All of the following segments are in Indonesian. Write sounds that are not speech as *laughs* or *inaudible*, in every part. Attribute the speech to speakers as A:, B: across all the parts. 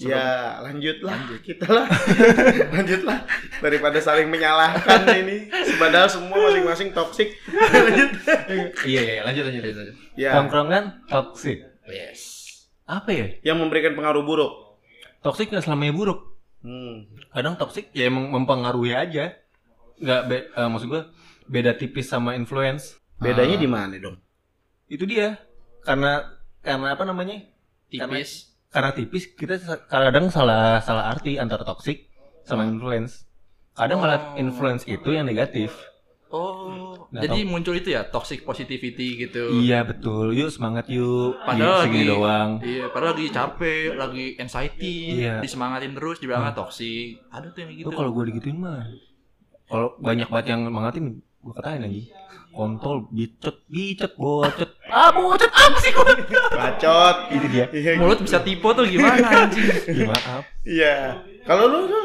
A: Sebelum... Ya, lanjutlah Lanjut. kita lah. lanjutlah daripada saling menyalahkan ini. Padahal semua masing-masing toksik. lanjut.
B: iya, iya, lanjut lanjut
C: gitu.
B: lanjut.
A: *laughs* Ya.
C: Tongkrongan toksik.
B: Yes.
C: Apa ya?
A: Yang memberikan pengaruh buruk.
C: Toksik nggak selamanya buruk.
A: Hmm.
C: kadang toxic ya emang mempengaruhi aja nggak be- eh, maksud gue beda tipis sama influence Ah,
A: Bedanya di mana dong?
C: itu dia karena karena apa namanya
B: Tipis.
C: karena tipis kita sa- kadang salah salah arti antara toxic sama influence kadang
B: Oh.
C: malah influence itu yang negatif
B: Oh,
C: Hmm. Nggak
B: jadi muncul itu ya toxic positivity gitu.
C: iya betul yuk semangat yuk
B: Padahal
C: Yuk, segini
B: lagi-
C: doang
B: Iya, padahal lagi capek, lagi anxiety,
C: Iya. Hmm.
B: disemangatin terus dibilangnya toxic. Ada tuh yang gitu.
C: itu Oh, kalau gue digituin mah kalau banyak banget yang mangatin gue katain lagi kontol bicet bicet bocet ah bocet apa sih gue
A: Bacot.
C: itu dia
A: Iya.
B: mulut bisa tipe tuh gimana anjing?
C: ya, maaf
A: Iya. Kalau lu tuh?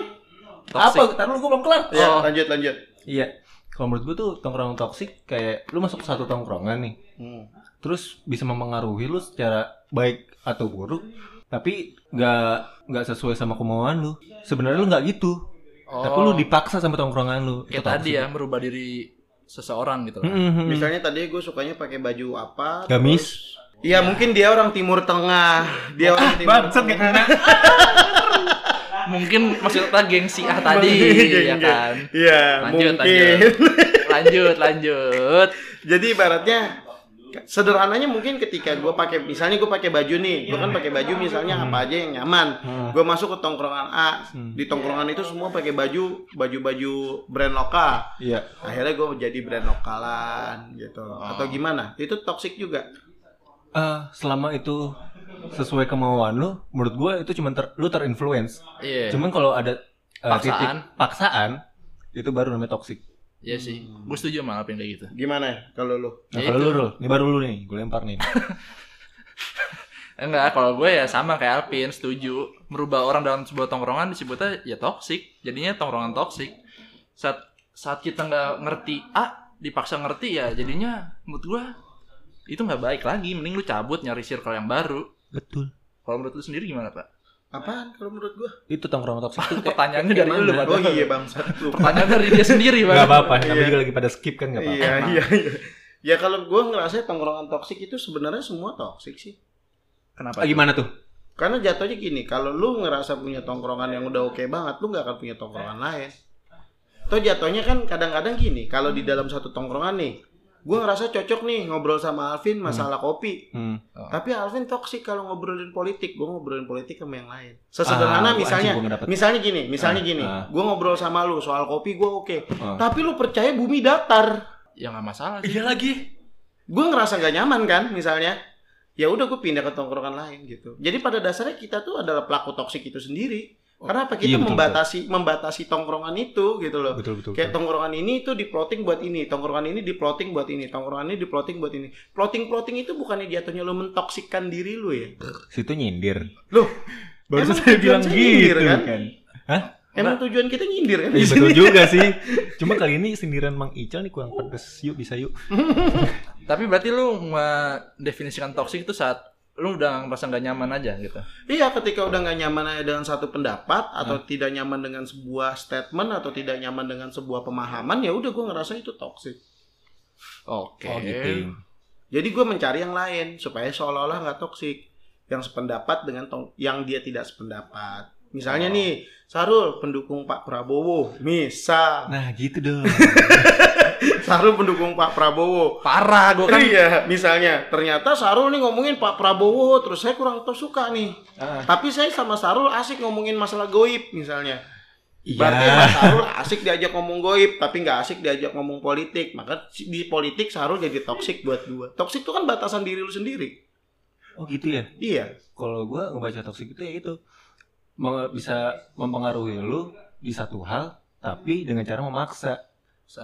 B: Toxic.
C: Apa? Taruh lu gue belum kelar.
A: Ya,
B: Oh.
A: lanjut lanjut.
C: Iya. Kalau menurut gue tuh tongkrongan toksik kayak lu masuk satu tongkrongan nih,
A: Hmm.
C: terus bisa mempengaruhi lu secara baik atau buruk, tapi nggak nggak sesuai sama kemauan lu. Sebenarnya lu nggak gitu,
B: Oh,
C: tapi lu dipaksa sama tongkrongan lu. Itu
B: kayak tadi
C: toksik.
B: ya merubah diri seseorang gitu.
C: Mm, mm, mm.
A: Misalnya tadi gue sukanya pakai baju apa?
C: Gamis.
A: Iya, mungkin dia orang Timur Tengah. Dia orang Timur Tengah. *laughs*
B: Mungkin maksudnya gengsi ah tadi ya kan.
A: Iya,
B: Lanjut,
A: mungkin.
B: Lanjut, lanjut.
A: Jadi ibaratnya sederhananya mungkin ketika gue pakai misalnya gue pakai baju nih, gue kan pakai baju misalnya apa aja yang nyaman. Gue masuk ke tongkrongan A, di tongkrongan itu semua pakai baju baju-baju brand lokal.
C: Iya.
A: Akhirnya gue jadi brand lokalan gitu. Atau gimana? Itu toxic juga.
C: Eh, selama itu sesuai kemauan lu, menurut gue itu cuma ter, lu terinfluence.
B: Iya.
C: Cuman kalau ada eh,
B: Paksaan.
C: titik paksaan, itu baru namanya toksik.
B: Iya sih. Gue setuju sama apa yang kayak gitu.
A: Gimana ya kalau lu?
C: Nah,
B: Ya
C: kalau
B: itu.
C: lu, Rul, ini baru lu nih, gue lempar nih.
B: Enggak, kalau gue ya sama kayak Alvin, setuju. Merubah orang dalam sebuah tongkrongan disebutnya ya toksik. Jadinya tongkrongan toksik. Saat saat kita nggak ngerti A, dipaksa ngerti ya jadinya menurut gue itu nggak baik lagi. Mending lu cabut nyari circle yang baru.
C: *laughs* Betul.
B: Kalau menurut lu sendiri gimana, Pak?
A: Apaan kalau menurut gue?
C: Itu tongkrong toksik tuh kayak-
B: Pertanyaannya dari
C: kayak
B: lu,
C: mana?
B: Pak.
A: Oh iya bang, satu.
B: Pertanyaan dari dia sendiri, Pak.
C: Gak apa-apa, kami
A: *laughs* Iya.
C: juga lagi pada skip kan gak apa-apa.
A: Iya, iya, iya. Ya kalau gue ngerasa tongkrongan toksik itu sebenarnya semua toksik sih. Iya.
B: Kenapa?
C: Ah, gimana tuh?
A: Karena jatuhnya gini, kalau lu ngerasa punya tongkrongan yang udah oke banget, lu nggak akan punya
C: Eh.
A: tongkrongan lain. Atau jatuhnya kan kadang-kadang gini, kalau di dalam satu tongkrongan nih, gue ngerasa cocok nih ngobrol sama Alvin masalah kopi.
C: Hmm.
A: Tapi Alvin toksik kalau ngobrolin politik, gue ngobrolin politik sama yang lain. Sesederhana
C: Ah, gua-
A: misalnya,
C: anjing, gua nggak dapet.
A: misalnya gini, misalnya
C: Ah,
A: gini,
C: ah.
A: gue ngobrol sama lu soal kopi gue oke,
C: Ah.
A: tapi lu percaya bumi datar,
B: Ya nggak masalah sih.
C: Iya lagi.
A: gue ngerasa nggak nyaman kan misalnya, ya udah gue pindah ke tongkrongan lain gitu. Jadi pada dasarnya kita tuh adalah pelaku toksik itu sendiri. Karena apa kita
C: iya, betul,
A: membatasi membatasi tongkrongan itu gitu loh.
C: Betul, betul,
A: Kayak tongkrongan ini itu diploting buat ini, tongkrongan ini diploting buat ini, tongkrongan ini diploting buat ini. Plotting-plotting itu bukannya jatuhnya lu mentoksikan diri lu ya?
C: Situ nyindir.
A: Loh,
C: Baru
A: emang
C: saya
A: tujuan
C: bilang
A: saya
C: gitu
A: nyindir,
C: kan.
A: kan?
C: Hah?
A: Emang tujuan kita nyindir kan?
C: Iya betul juga sih. Cuma kali ini sindiran Mang Ical nih kurang pedes. Yuk bisa yuk.
B: Tapi berarti lu mendefinisikan toksik itu saat lu udah merasa nggak nyaman aja gitu.
A: *laughs* Iya, ketika udah nggak nyaman aja dengan satu pendapat atau
C: Nah.
A: tidak nyaman dengan sebuah statement atau tidak nyaman dengan sebuah pemahaman, ya udah gue ngerasa itu toxic.
C: Oh,
B: Oke.
C: gitu.
A: Jadi gue mencari yang lain supaya seolah-olah nggak toksik, yang sependapat dengan tong- yang dia tidak sependapat. Misalnya nih, Sarul pendukung Pak Prabowo, misal *laughs*
C: Nah gitu dong.
A: Sarul pendukung Pak Prabowo.
B: Parah gue kan.
A: Iya, misalnya ternyata Sarul nih ngomongin Pak Prabowo, terus saya kurang tau suka nih. Tapi saya sama Sarul asik ngomongin masalah goib misalnya. Berarti Mas
C: Iya.
A: Sarul asik diajak ngomong goib, tapi nggak asik diajak ngomong politik. Maka di politik Sarul jadi toksik buat gua. Toksik itu kan batasan diri lu sendiri.
C: Oh gitu ya.
A: Iya.
C: Kalau gua ngebaca toksik itu ya itu Meng- bisa mempengaruhi lu di satu hal tapi dengan cara memaksa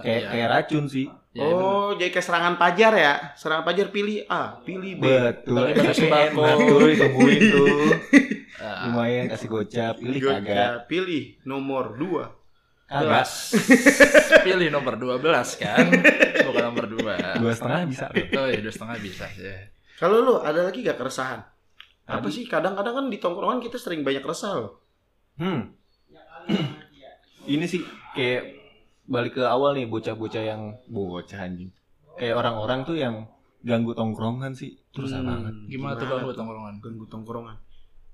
B: iya.
C: kayak kayak racun sih
B: oh.
A: oh, jadi kayak serangan pajar ya. Serangan pajar pilih A,
C: Iya.
A: pilih B.
C: betul
B: Tapi pakai sembako.
C: betul *laughs* ditungguin tuh
B: Ah,
C: lumayan kasih gocap pilih
A: Gua-
C: kagak
A: ya, pilih nomor 2.
C: kagak
B: Pilih nomor 12 kan. Bukan nomor 2.
C: dua setengah bisa
B: Oh iya, dua setengah bisa. Ya.
A: Kalau lu ada lagi gak keresahan? apa
C: Tadi-
A: sih kadang-kadang kan di tongkrongan kita sering banyak resah loh.
C: Hmm. Ini sih kayak balik ke awal nih bocah-bocah yang bocah anjing. Kayak orang-orang tuh yang ganggu tongkrongan sih. Terus
A: Hmm.
C: banget.
B: Gimana tuh
A: Gimana
B: ganggu
A: tuh?
B: tongkrongan?
A: Ganggu tongkrongan.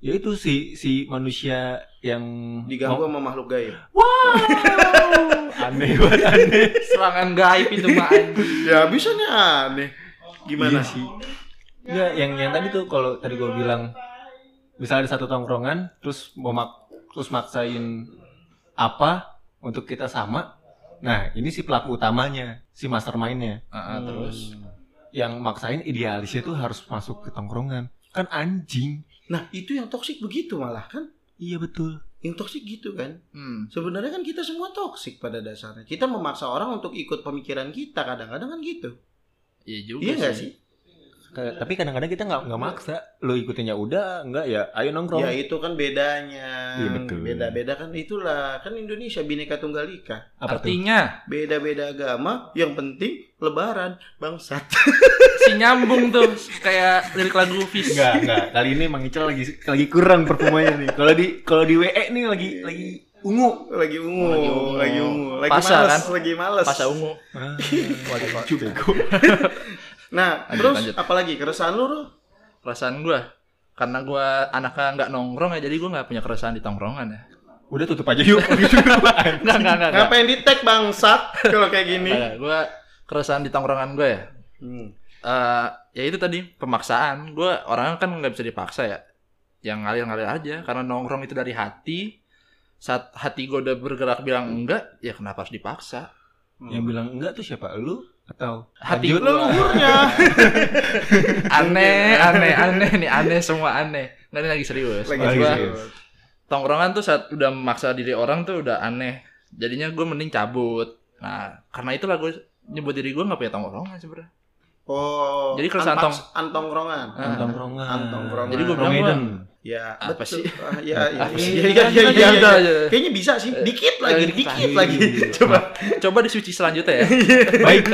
C: Ya itu si si manusia yang
A: Diganggu
C: Oh.
A: sama makhluk gaib.
C: aneh banget aneh.
B: Serangan gaib itu mah anjing.
A: Ya bisa nih aneh. Gimana
C: Iya sih? Enggak, Ya, yang yang tadi tuh kalau tadi gue bilang misalnya ada satu tongkrongan terus mau mak- terus maksain apa untuk kita sama. Nah, ini si pelaku utamanya, si mastermind-nya.
B: Ah, ah, terus
C: yang maksain idealisnya tuh harus masuk ke tongkrongan kan anjing
A: Nah itu yang toksik begitu malah kan?
C: iya betul
A: Yang toksik gitu kan?
B: hmm.
A: Sebenarnya kan kita semua toksik pada dasarnya. Kita memaksa orang untuk ikut pemikiran kita kadang-kadang kan gitu.
B: Iya juga
A: Iya nggak
B: sih.
A: sih?
C: tapi kadang-kadang kita nggak nggak maksa lo ikutinnya udah nggak ya ayo nongkrong
A: Ya itu kan bedanya.
C: Iya, betul.
A: Beda-beda kan itulah. Kan Indonesia bineka tunggal ika.
C: apa tuh
B: Artinya
A: Beda-beda agama. Yang penting Lebaran bangsat.
B: si nyambung tuh kayak lirik lagu Fish.
C: Enggak, enggak. Kali ini Mang Ical lagi lagi kurang perfumanya nih. Kalau di kalau di WE nih lagi lagi ungu.
A: Lagi ungu,
B: Lagi ungu.
A: lagi ungu, lagi
B: Pasha,
A: males,
B: kan?
A: lagi males.
B: Pas ungu.
C: Ah, Waduh, bego.
A: Nah,
B: Lanjut,
A: terus
B: lanjut.
A: apalagi keresahan lu, Ruh?
B: Perasaan gua karena gua anaknya nggak nongkrong ya jadi gua nggak punya keresahan di tongkrongan ya.
C: Udah tutup aja *laughs* yuk. Gitu.
B: Enggak enggak enggak. enggak.
A: Ngapain di tag bangsat kalau kayak gini?
B: Enggak, Gua keresahan di tongkrongan gua ya.
A: Hmm.
B: Eh, ya itu tadi pemaksaan. Gua orangnya kan nggak bisa dipaksa ya. Yang ngalir-ngalir aja karena nongkrong itu dari hati. Saat hati gua udah bergerak bilang enggak, ya kenapa harus dipaksa?
C: Yang bilang enggak tuh siapa? Lu atau
B: Hati
C: Lanjut.
A: Lu luhurnya.
B: aneh, aneh, aneh nih, aneh semua aneh. Nggak ini lagi serius.
A: Lagi
B: Maksud gua,
C: serius.
B: tongkrongan tuh saat udah memaksa diri orang tuh udah aneh jadinya gue mending cabut nah karena itulah gue nyebut diri gue nggak punya tongkrongan sebenarnya
A: Oh.
B: Jadi keresahan
A: antaks- antongkrongan.
B: Ah.
C: tongkrongan.
A: Antongkrongan.
B: Jadi gua bilang gua-
C: Medan.
A: Ya,
B: Apa
A: betul.
B: sih?
A: Ah, ya, ya,
B: Apa sih?
A: ya, ya, ya, ya,
B: Udah,
A: ya.
B: udah, udah.
A: Kayaknya bisa sih, dikit lagi,
B: Eh,
A: dikit
B: dikit
A: lagi.
C: lagi.
A: *laughs* Coba.
B: coba disuci selanjutnya ya
C: *laughs* Baik.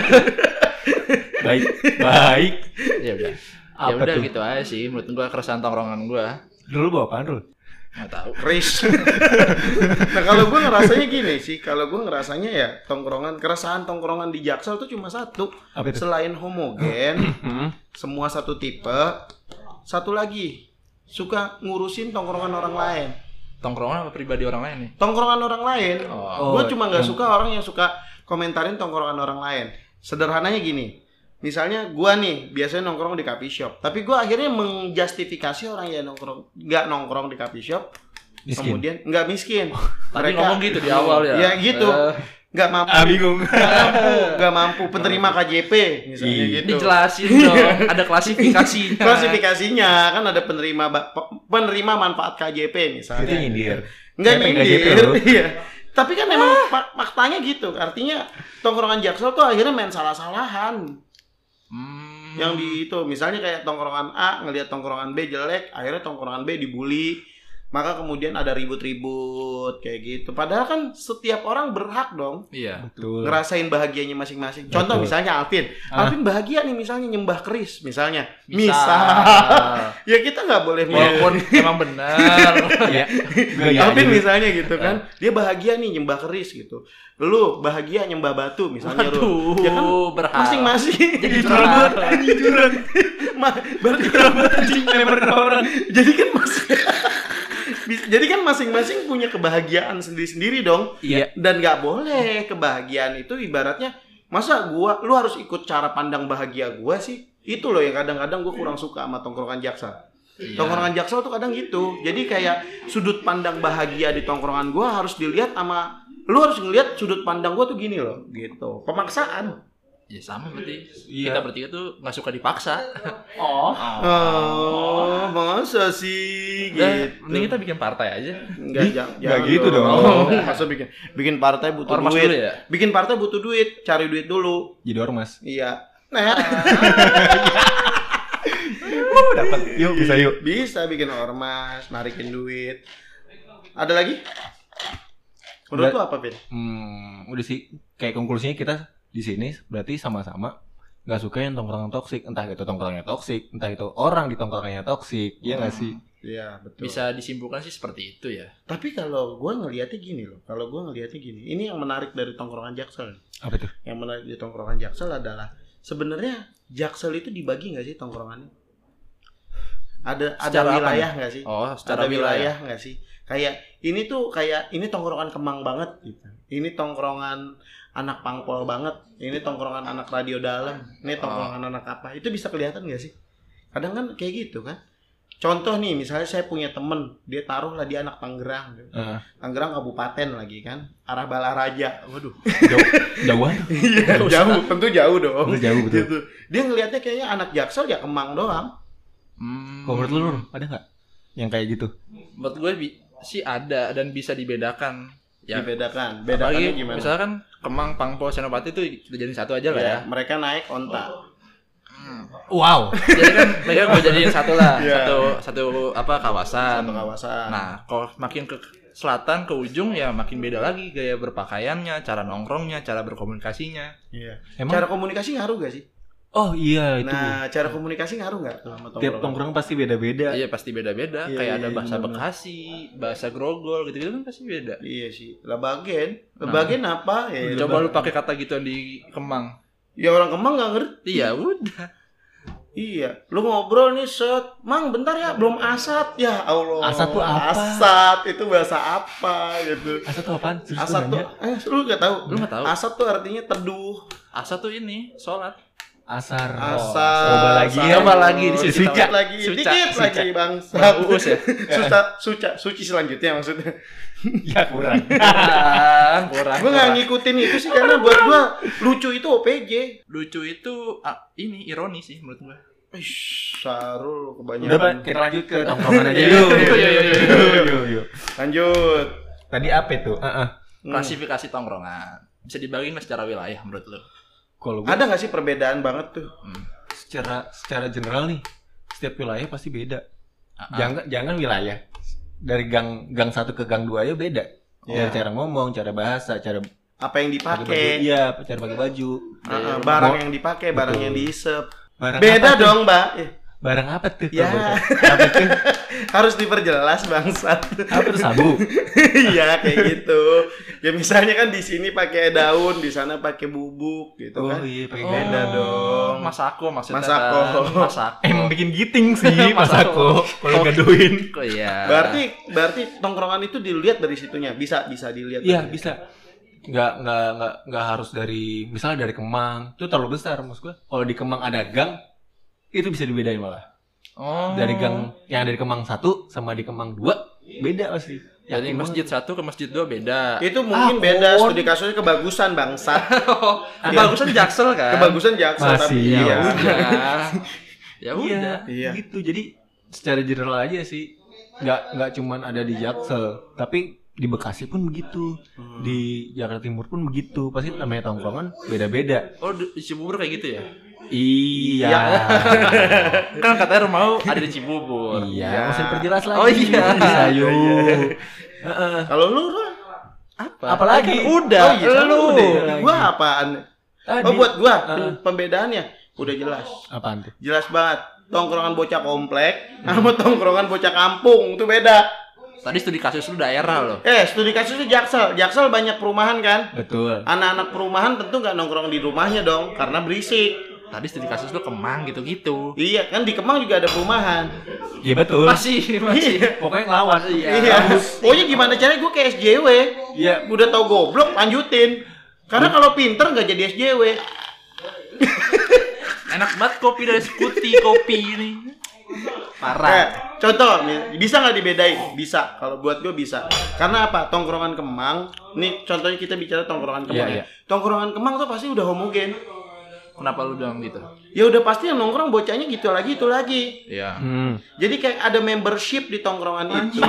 C: Baik. Baik.
B: *laughs* ya udah ya
C: Apa
B: udah
C: tuh?
B: gitu aja sih menurut gue keresahan tongkrongan gue
C: Dulu bawa apaan, Rul?
B: nggak tahu *laughs*
A: Chris. nah kalau gue ngerasanya gini sih, kalau gue ngerasanya ya tongkrongan, keresahan tongkrongan di Jaksel tuh cuma satu.
C: Apa itu?
A: Selain
B: *clears throat*
A: homogen,
C: Hmm?
A: semua satu tipe, satu lagi suka ngurusin tongkrongan orang lain.
B: tongkrongan apa pribadi orang lain nih
A: Tongkrongan orang lain,
B: oh,
A: gue
C: Oh,
A: cuma nggak
C: yang-
A: suka orang yang suka komentarin tongkrongan orang lain. Sederhananya gini, misalnya gue nih biasanya nongkrong di coffee shop, tapi gue akhirnya menjustifikasi orang yang nongkrong nggak nongkrong di coffee shop,
C: Miskin.
A: kemudian nggak miskin.
B: tadi ngomong gitu di awal ya
A: Ya gitu,
B: Eh,
A: nggak mampu,
C: Ah, *laughs* bingung.
A: nggak mampu, nggak mampu penerima KJP misalnya
C: Ih.
A: gitu.
B: dijelasin dong ada klasifikasinya
A: Klasifikasinya kan ada penerima ba- pe- penerima manfaat KJP
C: Itu
A: misalnya.
C: nyindir.
A: Enggak
C: Kenapa
A: nyindir.
C: nggak gitu?
A: *laughs*
C: Ah.
A: Iya. Tapi kan emang fak- faktanya gitu. Artinya tongkrongan Jaksel tuh akhirnya main salah-salahan.
B: Hmm.
A: Yang di itu misalnya kayak tongkrongan A ngelihat tongkrongan B jelek, akhirnya tongkrongan B dibully. Maka kemudian ada ribut-ribut kayak gitu. Padahal kan setiap orang berhak dong
B: iya
C: Betul.
A: ngerasain bahagianya masing-masing. Contoh
C: Betul.
A: misalnya Alvin.
C: Ah.
A: Alvin bahagia nih misalnya nyembah keris misalnya. Misal.
B: misal
A: ya kita nggak
C: Iya.
A: boleh
B: walaupun emang benar
C: ya.
B: Iya,
A: Alvin misalnya gitu kan, dia bahagia nih nyembah keris gitu. Lu bahagia nyembah batu misalnya lu.
B: Waduh,
A: Ya kan,
B: berharap.
A: Masing-masing. *laughs*
B: Jadi curang.
C: curang.
A: Ma- berarti
B: *laughs*
A: jadi kan mas- Bis- *laughs* jadi kan masing-masing punya kebahagiaan sendiri-sendiri dong.
B: Iya.
A: Dan nggak boleh kebahagiaan itu ibaratnya masa gua lu harus ikut cara pandang bahagia gua sih. Itu loh yang kadang-kadang gua kurang suka sama tongkrongan jaksa.
B: Iya.
A: Tongkrongan jaksel tuh kadang gitu. Jadi kayak sudut pandang bahagia di tongkrongan gua harus dilihat sama lu harus ngelihat sudut pandang gua tuh gini loh gitu. Pemaksaan.
B: Ya sama berarti.
C: Iya.
B: Kita bertiga tuh nggak suka dipaksa.
C: Oh.
A: Oh, masa sih
B: Udah,
A: gitu.
B: mending kita bikin partai aja.
A: Enggak,
C: Ih,
A: jangan,
C: nggak gitu
B: dong.
A: *laughs* Masa bikin bikin partai butuh
B: Ormas
A: duit.
B: dulu ya.
A: Bikin partai butuh duit, cari duit dulu.
C: Jadi ormas.
A: Iya. Nah,
C: Oh, dapat. Yuk, bisa yuk.
A: bisa bikin ormas, narikin duit. Ada lagi? Menurut
C: Nggak.
A: lu apa, Vin?
C: Hmm, udah sih kayak konklusinya kita di sini berarti sama-sama nggak suka yang tongkrongan toksik entah itu tongkrongnya toksik entah itu orang di tongkrongannya toksik iya nggak sih
A: Iya, betul.
B: Bisa disimpulkan sih seperti itu ya.
A: Tapi kalau gue ngelihatnya gini loh, kalau gue ngelihatnya gini, ini yang menarik dari tongkrongan Jaksel.
C: apa tuh
A: Yang menarik di tongkrongan Jaksel adalah sebenarnya Jaksel itu dibagi nggak sih tongkrongannya? Ada ada
B: Secara apa
A: wilayah nggak sih?
B: Oh,
A: ada wilayah nggak sih? Kayak ini tuh kayak ini tongkrongan Kemang banget gitu. Ini tongkrongan anak pangpol banget. Ini tongkrongan anak radio dalam. Ini tongkrongan anak apa? Itu bisa kelihatan nggak sih? Kadang kan kayak gitu kan. Contoh nih, misalnya saya punya temen, dia taruh lah dia anak Tangerang, gitu.
C: Eh,
A: Tangerang Kabupaten lagi kan, arah Balaraja, waduh,
C: jauh jauhan
A: *laughs* Iya, *laughs* jauh, tentu jauh dong.
C: Tentu jauh, betul.
A: *laughs* Gitu. Dia ngelihatnya kayaknya anak Jaksel ya Kemang doang.
B: Hmm.
C: kalau menurut lu Nur, ada nggak yang kayak gitu
B: Menurut gue bi- sih ada dan bisa dibedakan. Ya.
A: Dibedakan,
B: Apalagi
A: bedakannya gimana?
B: misalkan Kemang, Pangpol, Senopati itu kita jadiin satu aja lah
A: Ya,
B: ya.
A: mereka naik onta.
C: wow
B: Jadi kan mereka gue jadiin satu lah,
A: *laughs* Iya.
B: satu satu apa kawasan.
A: Satu kawasan.
B: Nah, kalau makin ke selatan ke ujung ya makin beda lagi gaya berpakaiannya, cara nongkrongnya, cara berkomunikasinya.
A: Iya.
C: Emang-
A: Cara komunikasi ngaruh gak sih?
C: oh iya itu
A: Nah, cara komunikasi ngaruh gak sama tongkrongan?
C: tiap tongkrong pasti beda-beda
B: Iya pasti beda-beda.
A: Iya,
B: Kayak
A: iya,
B: ada
A: iya,
B: bahasa
A: benar-benar.
B: Bekasi, bahasa Grogol gitu-gitu kan pasti beda.
A: Iya sih. Lebagen, lebagen apa? Ya,
B: Nah, Coba lu
A: lebagen.
B: pakai kata gituan di Kemang.
A: Ya orang Kemang gak ngerti.
B: Iya udah.
A: Iya, lu ngobrol nih set, mang bentar ya, belum asat ya Allah.
C: Asat tuh apa?
A: Asat itu bahasa apa gitu?
C: asal tuh apaan Serius
A: Asat
C: gua
A: tuh,
C: nanya.
A: eh, lu gak tahu?
B: Lu nggak tahu?
A: Asat tuh artinya teduh.
B: Asa tuh
A: *laughs*
B: ini sholat.
C: asar
A: Asar.
C: coba lagi ya
B: Coba lagi di sini.
A: Sedikit lagi,
B: Suca.
A: sedikit
B: Suca.
A: lagi bangsa.
B: Bang Uus ya?
A: Suca, suca, suci selanjutnya maksudnya.
C: ya kurang
B: Iya, Ah, kurang.
A: Gue gak
B: kurang.
A: ngikutin itu sih karena buat gue lucu itu OPJ.
B: Lucu itu ah, ini ironi sih menurut gua.
A: Ish, Sarul
C: udah Pak,
A: kebanyakan.
C: kita lanjut ke tongkrongan aja
B: Iya,
C: yuk
B: iya, iya, iya,
C: Yuk, yuk, yuk.
A: Lanjut.
C: tadi apa itu Heeh.
A: Hmm.
B: Klasifikasi tongkrongan. Bisa dibagi nggak secara wilayah menurut lu?
C: kalau
A: Hmm.
C: gua-
A: Ada gak sih perbedaan banget tuh?
B: Hmm.
C: secara secara general nih setiap wilayah pasti beda
B: Ah, ah.
C: jangan jangan wilayah dari gang gang satu ke gang dua ya beda
A: Iya.
C: Dari cara ngomong cara bahasa cara
A: Apa yang
C: pakai baju
A: dipakai?
C: iya cara pakai baju
A: Uh, uh, barang
C: Mo-
A: yang dipakai, barang
C: Betul.
A: yang diisep.
C: barang
A: Beda
C: apa tuh?
A: dong, Mbak. Eh,
C: barang apa tuh
A: Ya.
C: Kalau bocor? apa tuh
A: harus diperjelas bangsat. *laughs*
C: apa tuh sabu
A: Iya, kayak gitu. Ya misalnya kan di sini pakai daun, di sana pakai bubuk gitu
C: oh
A: kan.
C: iya pakai
B: Oh,
C: beda
A: Beda dong.
B: Masako maksudnya.
A: Masako.
B: kan?
A: *laughs*
B: Masako.
C: emang bikin giting sih
B: Mas
C: mas aku kalau gaduhin
B: Kok ya.
A: Berarti berarti tongkrongan itu dilihat dari situnya. Bisa bisa dilihat.
C: iya
A: dari situ.
C: bisa nggak nggak nggak nggak harus dari misalnya dari Kemang itu terlalu besar maksud gua kalau di Kemang ada gang itu bisa dibedain malah
B: Oh.
C: dari gang yang dari Kemang satu sama di Kemang dua beda pasti.
B: Dari
C: Yakin
B: masjid satu ke masjid dua beda.
A: Itu mungkin
C: Ah,
A: beda
C: kon.
A: studi kasusnya kebagusan bangsat.
B: Oh, Kebagusan Jaksel kan.
A: Kebagusan jaksa
C: Masih.
A: tapi
B: Ya
A: iya. *laughs*
B: udah. ya
C: banget.
B: udah.
A: Iya.
C: Iya, gitu. Jadi secara general aja sih nggak nggak cuman ada di Jaksel, tapi di Bekasi pun begitu, di Jakarta Timur pun begitu. Pasti namanya tongkrongan beda-beda.
B: Oh di di Cibubur kayak gitu ya?
C: Iya.
A: Iya.
B: Kan katanya rumah lu ada di Cibubur.
C: iya.
A: Iya.
C: Masih perjelas lagi.
B: Oh, iya.
C: Sayu. Heeh.
A: Kalau lu, Ron?
B: Apa?
C: Apalagi?
B: Kan udah.
A: oh, iya,
B: lu.
A: udah.
C: lagi.
A: Gua apaan?
C: Tadi.
A: Oh, buat gua
C: Heeh.
A: pembedaannya udah jelas.
C: Apaan tuh?
A: jelas banget tongkrongan bocah komplek sama tongkrongan bocah kampung itu beda
B: Tadi studi kasus lu daerah loh.
A: eh studi kasus itu jaksel jaksel banyak perumahan kan
C: Betul.
A: anak-anak perumahan tentu nggak nongkrong di rumahnya dong karena berisik
B: Tadi studi kasus lu Kemang gitu-gitu.
A: iya kan di Kemang juga ada perumahan
C: Iya betul.
B: Masih, masih.
C: Pokoknya ngelawan.
A: iya pokoknya gimana caranya gue ke SJW
C: Iya.
A: udah tau goblok lanjutin karena kalau pinter nggak jadi SJW
B: Enak banget kopi dari Sekuti kopi ini.
A: Eh,
B: Parah.
A: contoh nih, bisa nggak dibedain? Bisa. Kalau buat gue bisa. Karena apa? Tongkrongan Kemang. Nih contohnya kita bicara tongkrongan Kemang.
C: Iya, iya.
A: ya. Tongkrongan Kemang tuh pasti udah homogen.
B: Kenapa lu bilang gitu?
A: Ya udah pasti yang nongkrong bocahnya gitu lagi itu lagi.
B: Iya.
C: Hmm.
A: Jadi kayak ada membership di tongkrongan itu.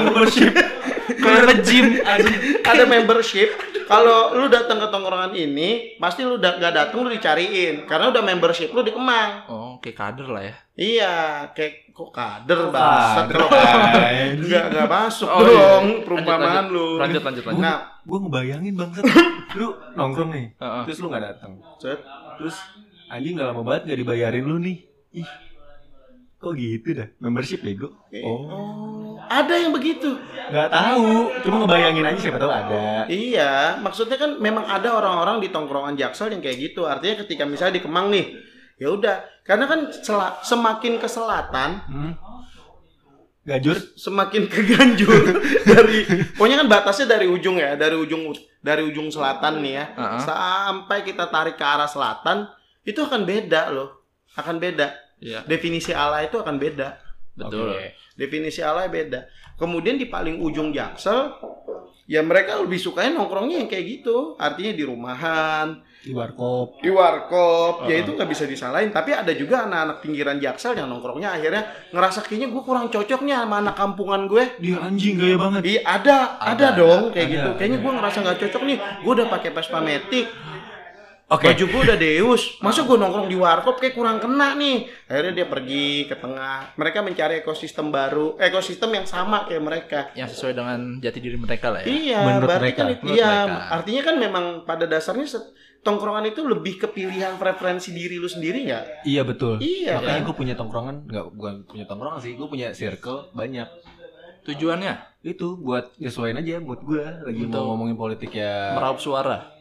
B: Kayak gym
A: *laughs* ada membership. Kalau lu datang ke tongkrongan ini, pasti lu da- gak datang lu dicariin karena udah membership lu di Kemang.
B: Oh, kayak kader lah ya.
A: Iya, kayak kok kader banget
C: kader.
A: kalau nggak nggak masuk
B: Oh, iya.
A: dong
B: Lanjut,
A: perumpamaan
B: lanjut.
A: lu.
B: Lanjut, lanjut, lanjut.
A: Nah,
C: gue ngebayangin bangsa lu nongkrong nih
B: Heeh.
C: terus lu nggak datang
A: set.
C: terus anjing udah lama banget gak dibayarin lu nih ih kok gitu dah membership bego oh
A: Oh, ada yang begitu.
C: nggak tahu cuma ngebayangin aja siapa tahu ada
A: Iya, maksudnya kan memang ada orang-orang di tongkrongan Jaksel yang kayak gitu. Artinya ketika misalnya di Kemang nih, ya udah, karena kan sela- semakin ke selatan,
C: hmm? gajur
A: semakin ke Ganjur *laughs* dari pokoknya kan batasnya dari ujung ya, dari ujung dari ujung selatan nih ya.
B: Heeh.
A: Sampai kita tarik ke arah selatan, itu akan beda loh. Akan beda.
B: Iya,
A: Definisi ala itu akan beda.
B: betul.
C: Oke.
A: Definisi alay beda. Kemudian di paling ujung Jaksel, ya mereka lebih sukanya nongkrongnya yang kayak gitu. Artinya di rumahan,
C: di warkop
A: di warkop, ya itu nggak bisa disalahin. Tapi ada juga anak-anak pinggiran Jaksel yang nongkrongnya akhirnya ngerasa kayaknya gue kurang cocok nih sama anak kampungan gue.
C: dia anjing gaya banget
A: Iya ada, ada,
B: Ada,
A: dong kayak
C: ada,
A: gitu. Kayaknya
C: ada.
A: gue ngerasa nggak cocok nih. Gue udah pakai Vespa Matic,
C: oke
A: baju gue udah Deus. Masa gue nongkrong di warkop kayak kurang kena nih. Akhirnya dia pergi ke tengah. Mereka mencari ekosistem baru, ekosistem yang sama kayak mereka.
B: Yang sesuai dengan jati diri mereka lah ya.
A: Iya,
C: Menurut
A: berarti
C: mereka.
A: kan itu-
B: Menurut
A: iya,
B: mereka.
A: artinya kan memang pada dasarnya set- tongkrongan itu lebih ke pilihan preferensi diri lu sendiri nggak?
C: iya ya. betul
A: Iya
C: makanya
A: kan?
C: gue punya tongkrongan nggak bukan punya tongkrongan sih gue punya circle banyak
B: Tujuannya
C: itu buat nyesuaiin aja mood gue lagi
B: Betul.
C: mau ngomongin politik ya
B: meraup suara.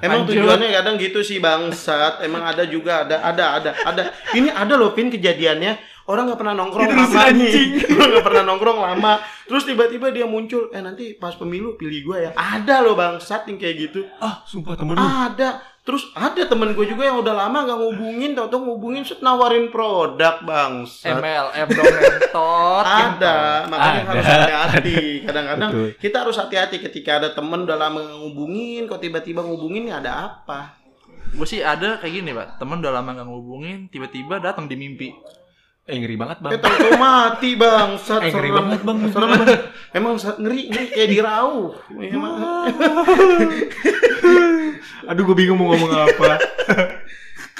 A: Emang
B: Lanjut.
A: tujuannya kadang gitu sih bangsat. Emang ada juga ada ada ada ada. Ini ada loh Pin kejadiannya orang nggak pernah nongkrong
C: Diterusin
A: lama
C: anjing.
A: nih. *laughs* Orang nggak pernah nongkrong lama. Terus tiba-tiba dia muncul. Eh nanti pas pemilu pilih gua ya. Ada loh bangsat yang kayak gitu.
C: ah sumpah temen lu
A: Ada. Terus ada temen gue juga yang udah lama nggak ngubungin, tau-tau ngubungin, set nawarin produk
B: Eh.
A: bangsat.
B: MLM dong Gitu. mentot.
A: ada makanya
C: Ada.
A: harus hati-hati kadang-kadang
C: Betul.
A: kita harus hati-hati ketika ada temen udah lama ngubungin kok tiba-tiba ngubungin ya ada apa
B: Gue sih ada kayak gini, Pak. Temen udah lama gak ngubungin, tiba-tiba datang di mimpi.
C: eh ngeri banget bang
A: eh tentu mati bang Sat,
C: Eh, ngeri
A: serem.
C: banget, Bang.
A: Serem, Bang. emang Sat, ngeri ngeri kayak dirau Emang.
C: aduh gue bingung mau ngomong apa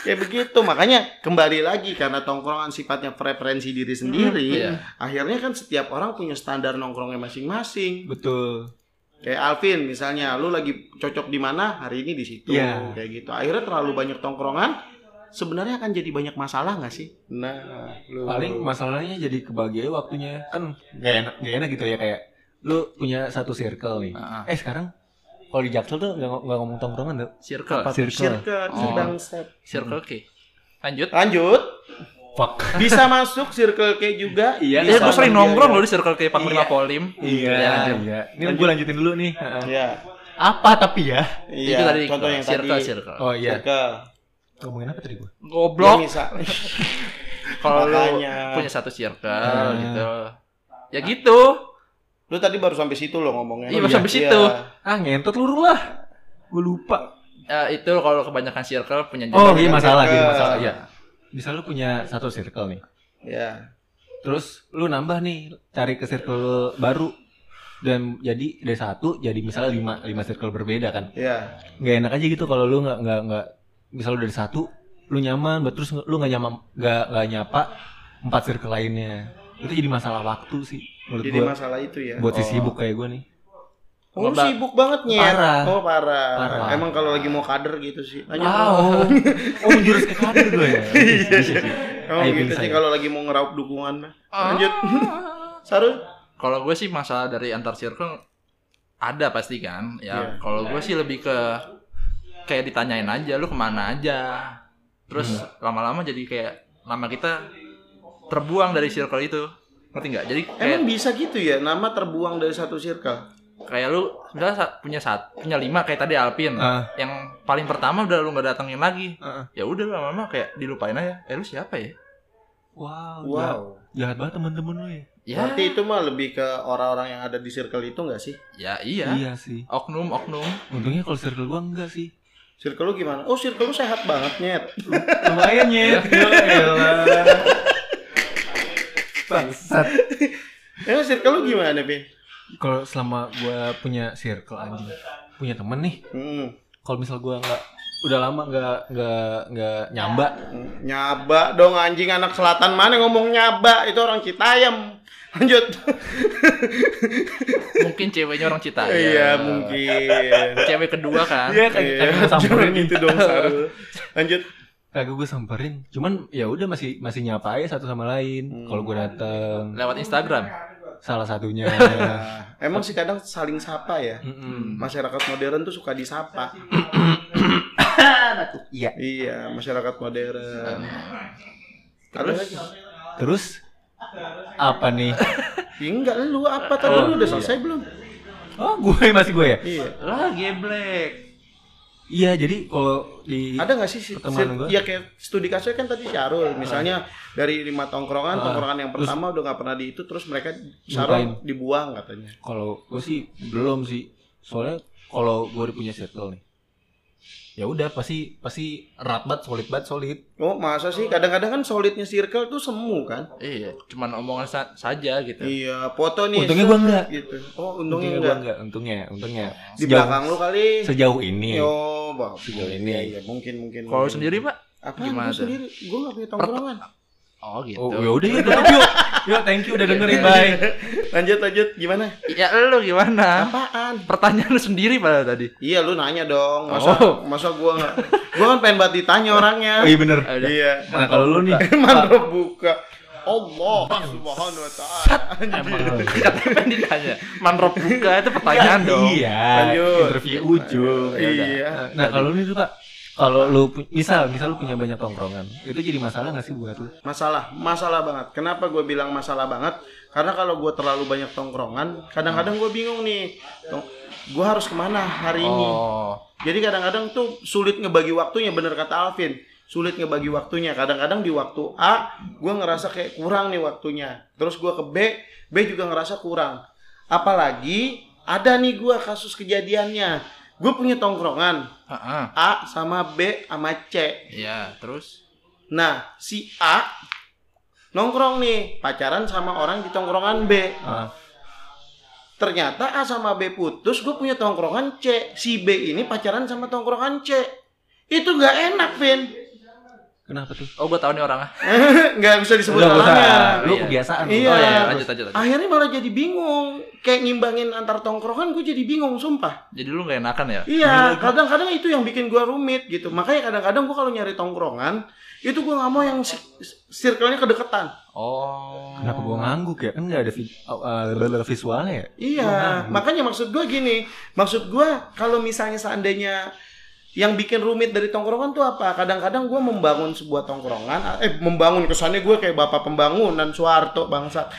A: kayak begitu makanya kembali lagi karena tongkrongan sifatnya preferensi diri sendiri
C: Hmm.
B: Iya.
A: akhirnya kan setiap orang punya standar nongkrongnya masing-masing
C: *laughs* betul
A: Kayak Alvin misalnya, lu lagi cocok di mana hari ini di situ,
C: Iya.
A: kayak gitu. Akhirnya terlalu banyak tongkrongan, sebenarnya akan jadi banyak masalah nggak sih? Nah, lu-
C: paling masalahnya jadi kebahagiaan waktunya kan gak enak gak enak gitu ya kayak lu punya satu circle nih
B: Ah, ah.
C: eh sekarang kalau di Jaksel tuh gak, nggak ngomong tongkrongan tuh
B: Circle.
A: circle,
B: Oh.
A: bangsat.
B: Circle K. Lanjut.
A: Lanjut,
C: fuck
A: bisa masuk circle K juga.
C: Iya,
B: Iya,
A: Bisa
B: gue sering
A: sama
B: nongkrong
A: dia.
B: loh di circle K Panglima
A: Iya.
B: Polim.
C: iya
B: Iya.
C: iya ini gue lanjutin dulu nih
A: Iya.
C: apa tapi ya
A: Iya,
B: Itu tadi
A: contoh yang
B: circle,
A: tadi.
B: circle.
C: oh iya
A: Circle.
C: ngomongin apa tadi gue
A: Blok.
B: Goblok. Kalau lu
A: makanya. Hmm. Nah,
B: punya satu circle
C: Ah.
B: gitu. Ya gitu.
A: Lu tadi baru sampai situ lo ngomongnya.
B: Iya, baru sampai situ.
C: ah ngentot lu lah gue lupa
B: Eh, itu kalau kebanyakan circle punya
C: oh
B: jawaban.
C: iya masalah jadi
A: Circle.
C: masalah ya misal lu punya satu circle nih
A: Iya.
C: terus lu nambah nih cari ke circle baru dan jadi dari satu jadi misalnya lima lima circle berbeda kan
A: Iya.
C: nggak enak aja gitu kalau lu nggak nggak nggak misal lu dari satu lu nyaman buat terus lu nggak nyaman nggak nggak nyapa empat circle lainnya itu jadi masalah waktu sih menurut
A: Jadi
C: gua
A: masalah itu ya.
C: buat si
B: Oh.
C: sibuk kayak gua nih
A: Oh, lu
B: Ngebak-
A: sibuk banget nyet.
C: Parah.
A: Oh, parah.
C: Parah.
A: Emang kalau lagi mau kader gitu sih. Lanjut. *laughs*
C: wow oh menjurus ke kader gua
A: Iya,
C: ya Bisa, bisa, bisa.
A: Oh,
C: Ayo,
A: gitu
C: bisa,
A: sih
C: ya.
A: kalau lagi mau ngeraup dukungan mah.
B: Ah.
A: Lanjut. Saru.
B: *laughs* Kalau gue sih masalah dari antar circle ada pasti kan.
A: Iya.
B: Ya kalau gue sih lebih ke kayak ditanyain aja lu kemana aja. Terus
A: Hmm.
B: lama-lama jadi kayak nama kita terbuang dari circle itu. Ngerti nggak? Jadi kayak
A: Emang bisa gitu ya nama terbuang dari satu circle?
B: kayak lu misalnya sa- punya sat punya lima kayak tadi Alpin
C: Ah.
B: yang paling pertama udah lu nggak datengin lagi
C: Ah.
B: ya udah lama-lama kayak dilupain aja eh lu siapa ya
C: wow jahat,
A: Wow.
C: jahat banget temen-temen lu Oh, ya
B: ya
A: Berarti itu mah lebih ke orang-orang yang ada di circle itu enggak sih?
B: ya iya
C: iya sih
B: oknum oknum
C: untungnya kalau circle gua enggak
A: *laughs*
C: sih
A: Circle lu gimana? Oh, circle lu sehat banget, Nyet.
C: lumayan ya bangsat
A: Emang circle lu gimana, Pin?
C: kalau selama gua punya circle anjing punya temen nih
A: Hmm.
C: kalau misal gua nggak udah lama nggak nggak nggak nyamba
A: hmm. Nyaba dong anjing anak selatan mana ngomong nyaba itu orang Citayam. Lanjut.
B: mungkin ceweknya orang cita
A: Iya, mungkin.
B: cewek kedua kan
C: Iya, kayak- kayak
A: *laughs* Iya,
C: gue samperin
A: jangan gitu dong, Saru. Lanjut.
C: kagak gue samperin cuman ya udah masih masih nyapa aja satu sama lain
A: Hmm.
C: kalau gue dateng
B: lewat Instagram
C: salah
A: *laughs*
C: satunya
A: Nah, emang sih kadang saling sapa ya.
C: Mm-mm.
A: Masyarakat modern tuh suka disapa.
C: Iya.
A: Iya, masyarakat modern. Ada lagi?
C: terus apa nih
A: Ya, enggak lu apa tadi lu
C: Oh,
A: udah
C: iya.
A: selesai belum?
C: oh gue masih gue ya
A: Iya.
B: lah geblek
C: iya jadi kalau di
A: Ada nggak sih si, si-
C: Pertemanan gua.
A: ya kayak studi kasusnya kan tadi si Arul, misalnya dari lima tongkrongan,
C: Ah.
A: tongkrongan yang
C: Terus-
A: pertama udah nggak pernah di itu, terus mereka sarung dibuang katanya.
C: Kalau gue sih belum sih. Soalnya kalau gue udah punya circle nih. Ya udah pasti pasti erat banget, solid banget, solid.
A: Oh masa sih? Kadang-kadang kan solidnya circle tuh semu kan?
B: iya cuman omongan sa- saja gitu
A: Iya, foto nih.
C: Untungnya
A: set,
C: gua enggak.
A: Gitu. Oh untungnya,
C: gua
A: enggak.
C: enggak, untungnya, untungnya.
A: Di belakang lu kali.
C: sejauh ini.
A: Yo, bang.
C: Iya. Sejauh ini.
A: Iya, iya, mungkin mungkin.
B: kalau
A: mungkin.
B: sendiri pak
A: Apa?
B: gimana
A: Gimana?
B: tuh?
A: sendiri, gue gak punya tongkrongan.
B: oh gitu
C: Oh, ya udah ya, thank you. Yo, thank you udah dengerin, bye.
A: lanjut lanjut, gimana?
B: ya lu gimana
A: Apaan?
B: pertanyaan lu sendiri padahal tadi
A: Iya, lu nanya dong. Masa
B: Oh.
A: masa gue nggak? Gue kan pengen banget ditanya orangnya.
C: Oh, iya bener.
B: Ada.
A: Iya.
C: Nah, kalau lu nih.
A: Mantap buka. Allah Subhanahu wa taala. Anjir.
B: Kan ditanya manrop buka itu pertanyaan dong Ya
C: Iya,
A: Lanjut.
C: interview ujung.
A: Iya. Iya.
C: Nah, kalau lu nih tuh, Pak. Kalau lu pu- misal, misal lu punya banyak tongkrongan, itu jadi masalah nggak sih buat lu?
A: Masalah, masalah banget. Kenapa gue bilang masalah banget? Karena kalau gue terlalu banyak tongkrongan, kadang-kadang gue bingung nih. Tong- gue harus kemana hari ini?
B: oh
A: Jadi kadang-kadang tuh sulit ngebagi waktunya, bener kata Alvin. Sulit ngebagi waktunya. Kadang-kadang di waktu A, gue ngerasa kayak kurang nih waktunya. Terus gue ke B, B juga ngerasa kurang. Apalagi ada nih gue kasus kejadiannya. Gue punya tongkrongan
B: Heeh.
A: A sama B sama C.
B: Iya, terus
A: Nah, si A nongkrong nih, pacaran sama orang di tongkrongan B.
C: Ah,
A: Ternyata A sama B putus, gue punya tongkrongan C. Si B ini pacaran sama tongkrongan C. Itu nggak enak, Vin. *laughs*
C: kenapa tuh?
B: oh gua tahu nih orangnya.
A: Nggak bisa disebut
C: Udah, udah.
A: namanya.
C: Lu
B: Iya.
C: kebiasaan.
A: *laughs* Iya.
B: Oh, iya, lanjut lanjut lanjut.
A: Akhirnya malah jadi bingung. Kayak ngimbangin antar tongkrongan, gue jadi bingung, sumpah.
B: Jadi lu gak enakan ya?
A: Iya, kadang-kadang itu yang bikin gue rumit gitu. Makanya kadang-kadang gue kalau nyari tongkrongan, itu gue nggak mau yang si- circle-nya kedekatan.
B: Oh.
C: Kenapa gua ngangguk ya? Kan nggak ada vi- uh, visualnya ya?
A: Iya, makanya maksud gue gini, maksud gue kalau misalnya seandainya yang bikin rumit dari tongkrongan tuh apa? Kadang-kadang gue membangun sebuah tongkrongan, eh membangun kesannya gue kayak bapak pembangunan Soeharto bangsa.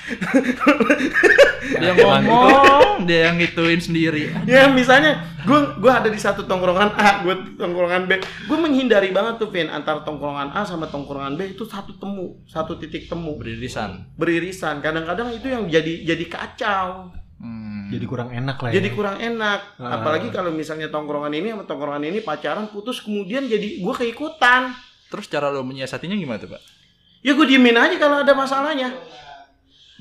B: Dia ngomong, dia yang ngituin sendiri.
A: *laughs* ya misalnya gue gue ada di satu tongkrongan A, gue tongkrongan B, gue menghindari banget tuh Vin antar tongkrongan A sama tongkrongan B itu satu temu, satu titik temu
B: Beririsan.
A: beririsan. Kadang-kadang itu yang jadi jadi kacau.
B: Hmm.
C: Jadi kurang enak lah ya.
A: jadi kurang enak
C: Ah.
A: apalagi kalau misalnya tongkrongan ini sama tongkrongan ini pacaran putus kemudian jadi gue keikutan
B: terus cara lu menyiasatinya gimana tuh, Pak?
A: ya gue diemin aja kalau ada masalahnya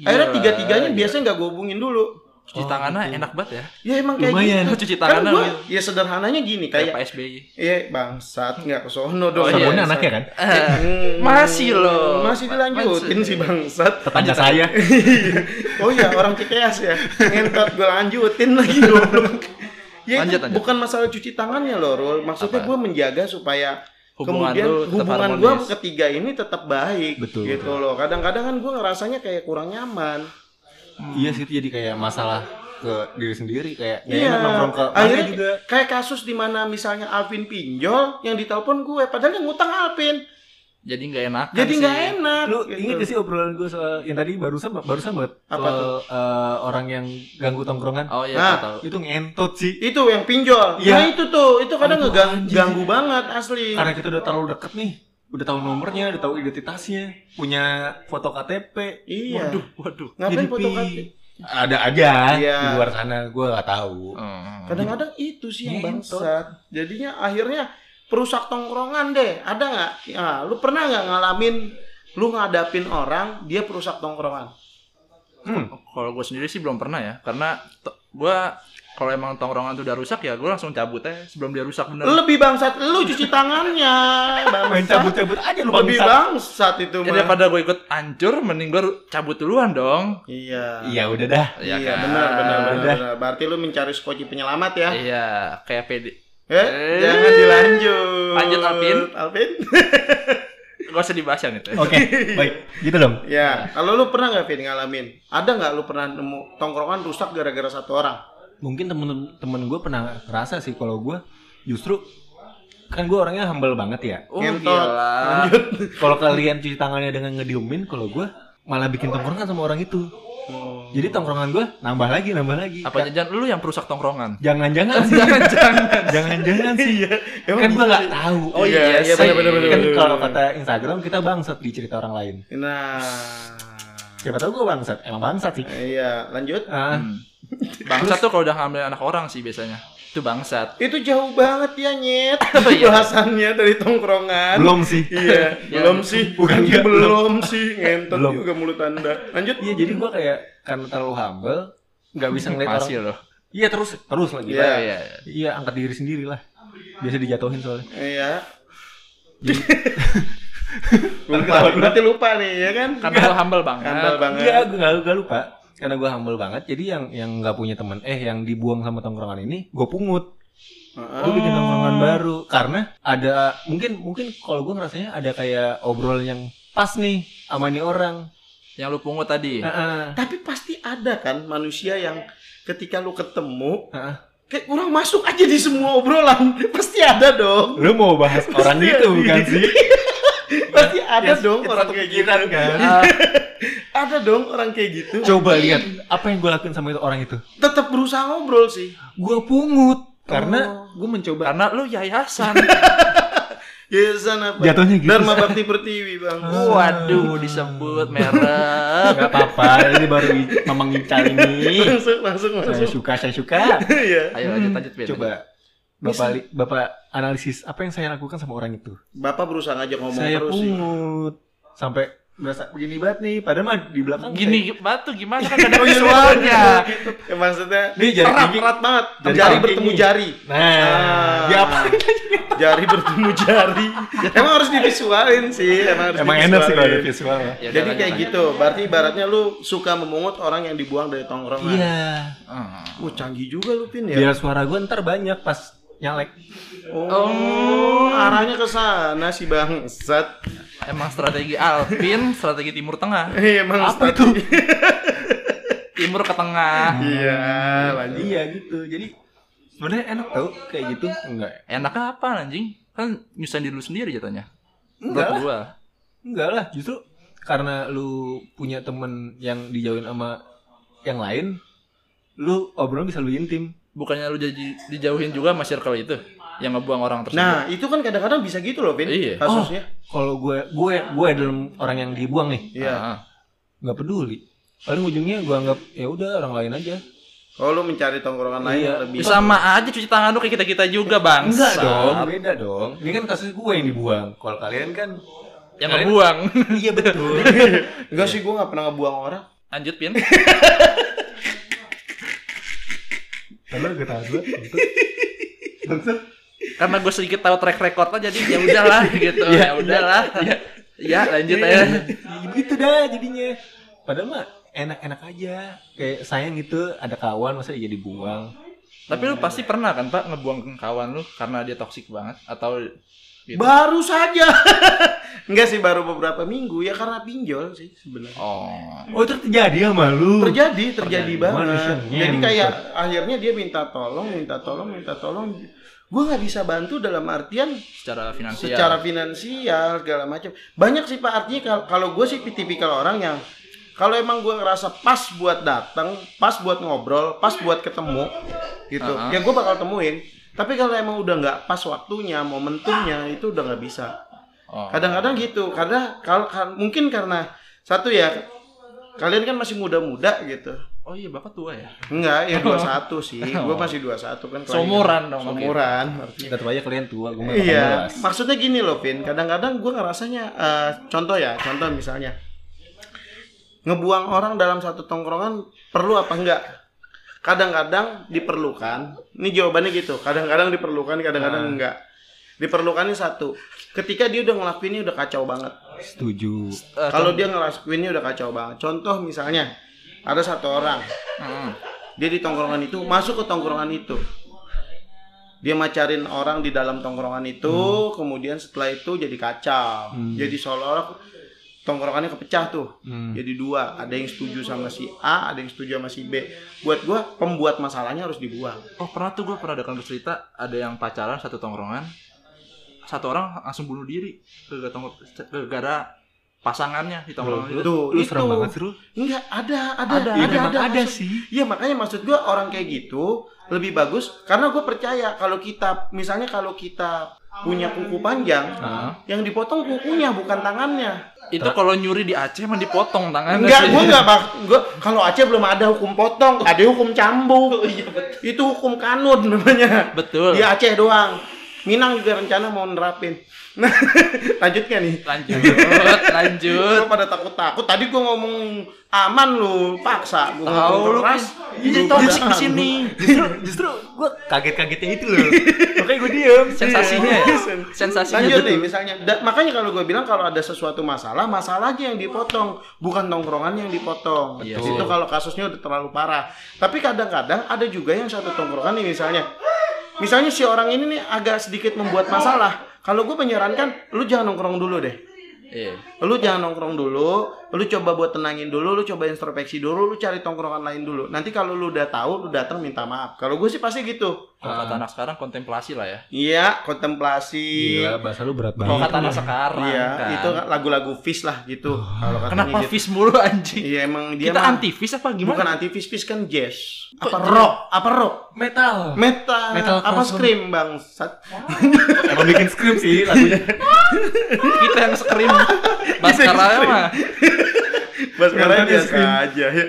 B: Iya.
A: akhirnya tiga tiganya biasanya nggak gue hubungin dulu
B: cuci
C: Oh,
B: tangannya
C: gitu.
B: enak banget ya.
A: ya emang kayak
C: Lumayan.
A: gitu
B: Cuci
A: kan
B: tangannya
A: gue
B: lu
A: ya sederhananya gini
B: kayak
A: kayak
B: Pak SBY.
A: ya bangsat nggak kesono dong
B: Oh, iya.
C: Sabunnya anaknya kan?
A: *laughs* Hmm,
B: Masih loh.
A: masih dilanjutin
B: Masih.
A: sih bangsat
C: Tetangga saya.
A: oh iya orang cikeas ya ngentot gue lanjutin lagi goblok ya itu
B: Lanjut, lanjut.
A: bukan masalah cuci tangannya loh Rul maksudnya
B: Apa?
A: gue menjaga supaya
B: Hubungan
A: kemudian
B: lu tetap
A: hubungan
B: harmonis.
A: gue ketiga ini tetap baik
C: Betul,
A: gitu
C: betul.
A: loh kadang-kadang kan gue ngerasanya kayak kurang nyaman
C: *laughs* Iya sih itu jadi kayak masalah ke diri sendiri kayak nggak
A: Iya.
C: enak nongkrong ke
A: Akhirnya
C: mana juga.
A: kayak kasus di mana misalnya Alvin pinjol yang ditelepon gue padahal yang ngutang Alvin
B: Jadi nggak enak.
A: jadi nggak enak
C: Lu
A: gitu.
C: inget gak sih obrolan gue soal yang tadi barusan barusan banget
A: Apa
C: soal eh, orang yang ganggu tongkrongan
B: Oh iya,
A: Nah.
B: gua tahu.
C: itu ngentot sih
A: itu yang pinjol
C: Iya.
A: ya itu tuh itu kadang
C: Aduh,
A: ngeganggu
C: anjir.
A: ganggu banget asli
C: karena kita udah terlalu deket nih udah tahu nomornya udah tahu identitasnya punya foto KTP
A: iya
B: Waduh, waduh.
A: ngapain
C: Jadi
A: foto
C: pi-
A: KTP?
C: ada aja
A: Iya.
C: di luar sana gue nggak tahu
B: Hmm.
A: kadang-kadang itu sih yang
C: Ah. Ngentot.
A: bangsat jadinya akhirnya perusak tongkrongan deh ada nggak Ah, lu pernah nggak ngalamin lu ngadapin orang dia perusak tongkrongan
C: Hmm.
B: Kalau gue sendiri sih belum pernah ya, karena to- gua kalau emang tongkrongan tuh udah rusak ya, gue langsung cabut aja sebelum dia rusak bener.
A: lebih bangsat lu cuci
C: *laughs*
A: tangannya
C: main
A: bangsat
C: cabut-cabut aja lu
A: lebih
C: bangsat.
A: bangsat itu
B: Ya,
A: mah
B: daripada gue ikut hancur, mending gue cabut duluan dong.
A: iya
C: Iya udah dah.
A: iya benar benar benar,
C: Udah.
A: benar. berarti lu mencari skoci penyelamat ya
B: Iya, kayak pede
A: Eh,
B: Eh.
A: jangan dilanjut.
B: Lanjut, Alvin.
A: Alvin. *laughs*
B: Gak usah dibahas yang itu. ya.
C: Oke, baik. Gitu dong.
A: ya, kalau lu pernah nggak Vin ngalamin? Ada nggak lu pernah nemu tongkrongan rusak gara-gara satu orang?
C: Mungkin temen-temen gue pernah ngerasa sih kalau gue justru kan gue orangnya humble banget ya.
B: Oh
A: Ngentot.
B: gila.
A: Lanjut.
C: Kalau kalian cuci tangannya dengan ngediemin, kalau gue malah bikin tongkrongan sama orang itu. Jadi tongkrongan gue nambah lagi, nambah lagi.
B: Apa jajan lu yang
A: *laughs*
B: perusak tongkrongan?
C: Jangan-jangan sih.
B: Jangan-jangan.
C: Jangan-jangan sih.
A: Emang
C: kan gue nggak tahu.
A: Iya. Oh iya, iya
B: Iya sih.
A: benar benar benar.
C: kan
A: benar,
C: kalau
A: benar.
C: kata Instagram kita bangsat di cerita orang lain.
A: Nah.
C: Siapa tahu gue bangsat. Emang bangsat sih.
A: Iya, lanjut.
C: Ah,
B: Hmm. Bangsat tuh kalau udah ngambil anak orang sih biasanya. Itu bangsat.
A: Itu jauh banget ya, Nyet.
B: Oh, iya.
A: Bahasannya dari tongkrongan.
C: belum sih.
A: Iya,
B: Ya.
A: belum sih.
C: Bukan
A: Iya,
C: ya,
A: belum sih. Ngentot
C: Belum.
A: juga mulut Anda. Lanjut.
C: Iya jadi gue kayak karena terlalu humble nggak bisa ngeliat orang.
B: Masih loh.
C: Iya terus terus lagi.
A: Iya.
B: Iya, iya.
C: Iya angkat diri sendiri lah. Biasa dijatuhin soalnya.
A: Iya.
C: Jadi-
A: lupa. Berarti lupa nih, ya kan?
B: Karena lu humble banget.
A: Handal
C: Iya
A: banget.
C: gue nggak nggak lupa. Karena gue humble banget, jadi yang yang nggak punya temen, eh yang dibuang sama tongkrongan ini, gue pungut.
A: Heeh.
C: Gue bikin
B: Oh.
C: tongkrongan baru, karena ada mungkin mungkin kalau gue ngerasanya ada kayak obrolan yang pas nih sama nih orang.
B: Yang lu pungut tadi.
C: Heeh.
A: Tapi pasti ada kan manusia yang ketika lu ketemu,
C: Heeh.
A: kayak kurang masuk aja di semua obrolan. *laughs* Pasti ada dong.
C: Lu mau bahas orang
A: Pasti
C: *laughs* itu
A: ada.
C: bukan sih?
A: Iya, *laughs*
C: Iya.
A: Pasti ada
C: Yes,
A: dong
C: it's
A: orang
C: satu
A: kayak gitu.
C: pikiran, kan?
B: Ah,
A: Ada dong orang kayak gitu.
C: Coba lihat apa yang gue lakuin sama itu orang itu.
A: Tetap berusaha ngobrol sih.
C: Gue pungut karena gue mencoba
B: karena lu yayasan.
A: Yayasan apa?
C: Jatuhnya gitu.
A: Ya, Dharma Bakti Pertiwi,
C: *laughs*
A: Bang.
B: Waduh, disebut
A: *laughs*
B: merek.
C: Gak apa-apa, ini baru i- Mamang Ical ini.
A: langsung langsung
C: Saya
A: langsung.
C: suka, saya suka.
A: Iya.
B: Ayo lanjut lanjut Vin.
C: Coba Bapak li- Bapak analisis apa yang saya lakukan sama orang itu.
A: Bapak berusaha ngajak ngomong
C: saya
A: terus sih.
C: pungut sampai berasa begini banget nih. Padahal mah di belakang
B: Gini batu gimana kan gak ada
A: *laughs* Oh, iya,
B: visualnya.
A: Ya, maksudnya
C: Ini jari
A: erat,
C: tinggi.
A: erat banget. Jari,
C: Jari tinggi.
A: bertemu jari.
C: saya- Nah,
A: Ah.
C: dia apa?
A: Jari bertemu
C: *laughs*
A: jari. Emang harus divisualin sih, emang harus
C: Emang enak sih kalau ada
A: divisualin.
C: visual. ya.
B: Ya udah,
A: Jadi
B: lanjut,
A: kayak
B: lanjut.
A: gitu, berarti ibaratnya lu suka memungut orang yang dibuang dari tongkrongan.
C: Iya.
A: gitu.
B: Hmm.
A: Wah, canggih juga lu Pin ya.
C: Biar suara gue ntar banyak pas nyalek.
A: Oh, arahnya ke sana sih bangsat.
B: Emang strategi Alvin, strategi Timur Tengah.
A: Iya, emang
C: Apa
A: strategi.
B: Timur ke tengah.
A: Iya, lanjut.
C: Iya gitu. Jadi sebenarnya enak tau kayak gitu? Enggak.
B: Enaknya apa anjing? Kan nyusahin diri lu sendiri jatuhnya. Menurut
C: Enggak lah.
B: gua.
C: Enggak lah, justru karena lu punya temen yang dijauhin sama yang lain, lu obrolan bisa lebih intim.
B: Bukannya lu jadi dijauhin juga sama circle itu yang ngebuang orang tersebut.
A: Nah, itu kan kadang-kadang bisa gitu loh, Pin.
B: Iya.
A: Kasusnya.
C: Kalau gue gue gue dalam orang yang dibuang nih,
A: Iya.
B: Ah.
C: nggak peduli. Paling ujungnya gue anggap ya udah orang lain aja.
A: Oh, lu mencari tongkrongan lain
C: Iya.
A: yang lebih.
B: Bisa sama aja cuci tangan lu kayak kita-kita juga, Bang.
C: beda dong. Ini kan kasus gue yang dibuang. Kalau kalian kan
B: Yang
A: *laughs*
B: ngebuang.
C: iya betul. *laughs*
A: Enggak sih, gua nggak pernah ngebuang orang.
B: Lanjut, Pin.
C: Kalau gue tahu gitu. Bangsat.
B: Karena gue sedikit tahu track recordnya jadi ya udahlah gitu. ya udahlah. Ya, lanjut aja.
C: Ya gitu dah jadinya. Padahal mah enak-enak aja. Kayak sayang gitu ada kawan masa jadi buang.
B: Tapi lu pasti pernah kan, Pak, ngebuang kawan lu karena dia toksik banget atau gitu.
A: Baru saja. *laughs* Enggak sih baru beberapa minggu ya karena pinjol sih sebenarnya.
B: Oh.
C: Oh itu terjadi sama lu.
A: Terjadi, terjadi
B: Terjadi.
A: banget.
C: Manusianya
A: Jadi
C: emang
A: kayak akhirnya dia minta tolong, minta tolong, minta tolong. Gua nggak bisa bantu dalam artian
B: secara finansial.
A: secara finansial segala macam. Banyak sih Pak artinya kal- kalau gue sih tipikal orang yang kalau emang gue ngerasa pas buat datang, pas buat ngobrol, pas buat ketemu gitu,
B: Uh-huh.
A: ya gue bakal temuin. Tapi kalau emang udah nggak pas waktunya, momentumnya itu udah nggak bisa.
B: Oh.
A: Kadang-kadang gitu. Karena kalau kan- mungkin karena satu ya kalian kan masih muda-muda gitu.
B: Oh iya, Bapak tua ya.
A: Enggak, ya 21 sih. Gue masih 21 kan. kelahiran.
B: Oh. Seumuran dong, oke.
A: Seumuran.
C: Tetap Iya. aja kalian tua, gue mah
A: Iya,
C: 18.
A: maksudnya gini loh, Vin. Kadang-kadang gue ngerasanya, eh, contoh ya, contoh misalnya, ngebuang orang dalam satu tongkrongan perlu apa enggak? Kadang-kadang diperlukan. Ini jawabannya gitu. Kadang-kadang diperlukan,
B: Ah.
A: kadang-kadang enggak. Diperlukannya satu. Ketika dia udah ngelakuinnya udah kacau banget.
C: Setuju.
B: Eh,
A: Kalau dia ngelakuinnya udah kacau banget. Contoh misalnya, ada satu orang,
B: Mm.
A: dia di tongkrongan itu masuk ke tongkrongan itu. dia macarin orang di dalam tongkrongan itu kemudian setelah itu jadi kacau
C: Hmm.
A: jadi seolah-olah tongkrongannya kepecah tuh
C: Hmm.
A: jadi dua ada yang setuju sama si A ada yang setuju sama si B buat gua pembuat masalahnya harus dibuang
B: Oh pernah tuh gue pernah ada kan cerita ada yang pacaran satu tongkrongan satu orang langsung bunuh diri gara-gara tongkrong- gara-gara pasangannya di tongkrongan itu.
A: Tuh,
C: Lu serem
A: itu.
C: banget sih lu.
A: enggak ada ada
B: Ada,
A: ada
C: Ya,
A: ada,
C: memang ada
A: maksud-
C: sih.
A: Iya makanya maksud gua orang kayak gitu lebih bagus karena gue percaya kalau kita misalnya kalau kita punya kuku panjang
C: Nah.
A: yang dipotong kukunya bukan tangannya.
B: Itu kalau nyuri di Aceh emang dipotong tangannya.
A: Enggak,
B: Ah, sih.
A: gue enggak bak gua kalau Aceh belum ada hukum potong, ada hukum cambuk. Itu hukum kanun namanya.
B: Betul.
A: Di Aceh doang. Minang juga rencana mau nerapin. *laughs* Nah, lanjut nggak nih?
B: Lanjut, lanjut.
A: Lu pada takut-takut. Tadi gua ngomong aman lu, paksa gua
B: Tahu
A: ngomong
B: lu kan.
A: keras.
B: Ini
A: lu
B: toxic
A: keras.
B: di sini.
C: Justru justru gue kaget-kagetnya itu loh. Makanya gue diem.
B: Sensasinya ya.
A: *laughs*
B: Sensasinya
A: Lanjut
B: Iya, betul.
A: nih misalnya. Da- makanya kalau gue bilang kalau ada sesuatu masalah, masalah aja yang dipotong, bukan tongkrongan yang dipotong.
B: Iya.
A: Itu kalau kasusnya udah terlalu parah. Tapi kadang-kadang ada juga yang satu tongkrongan nih misalnya. Misalnya si orang ini nih agak sedikit membuat masalah. Kalau gue menyarankan, lu jangan nongkrong dulu deh.
B: Iya.
A: Lu jangan nongkrong dulu, lu coba buat tenangin dulu, lu coba introspeksi dulu, lu cari tongkrongan lain dulu. Nanti kalau lu udah tahu, lu datang minta maaf. Kalau gue sih pasti gitu.
B: Kalau kata anak sekarang kontemplasi lah ya.
A: Iya, kontemplasi.
C: Gila, bahasa lu berat
B: Kalau
C: banget.
B: kata anak sekarang
A: Nah, Iya,
B: kan.
A: itu lagu-lagu fish lah gitu. Kalau katanya
B: Oh, Kenapa
A: gitu.
B: fish mulu anjing?
A: Iya emang dia
B: Kita
A: mah-
B: anti fish apa gimana?
A: Bukan anti fish fish kan jazz.
B: Kok
A: Apa
B: jazz?
A: rock? Apa rock?
C: Metal.
A: Metal.
C: Metal
A: apa
C: crossover.
A: scream bang? Sat-
C: Emang bikin skrip sih lagunya.
B: kita yang
A: *laughs*
B: scream Baskaranya mah
A: Baskaranya
C: Nonton
A: biasa
C: scream.
A: aja. ya.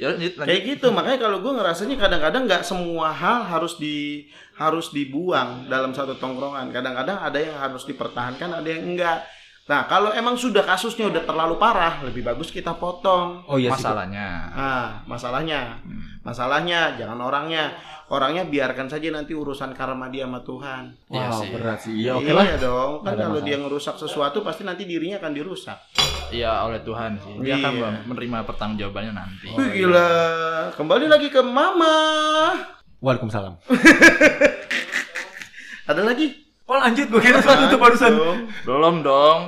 B: ya lanjut lanjut
A: Kayak gitu makanya kalau gue ngerasanya kadang-kadang nggak semua hal harus di harus dibuang dalam satu tongkrongan. Kadang-kadang ada yang harus dipertahankan, ada yang enggak. Nah kalau emang sudah kasusnya udah terlalu parah, lebih bagus kita potong.
C: Oh iya sih.
B: masalahnya
A: Ah, masalahnya, masalahnya jangan orangnya. Orangnya biarkan saja nanti urusan karma dia sama Tuhan.
B: Iya
C: Wah,
B: sih.
C: berat sih. Iya, oke
A: iya
C: lah.
A: dong. Kan
C: Nggak ada
A: kalau
C: masalah.
A: dia ngerusak sesuatu pasti nanti dirinya akan dirusak.
B: ya oleh Tuhan sih
A: Iya.
B: dia akan menerima pertanggungjawabannya nanti
C: Oh,
A: Wih,
C: iya.
A: gila. Kembali lagi ke mama.
C: Waalaikumsalam.
A: Ada lagi?
C: Oh lanjut, gue kira satu tuh
A: Dong.
B: belum dong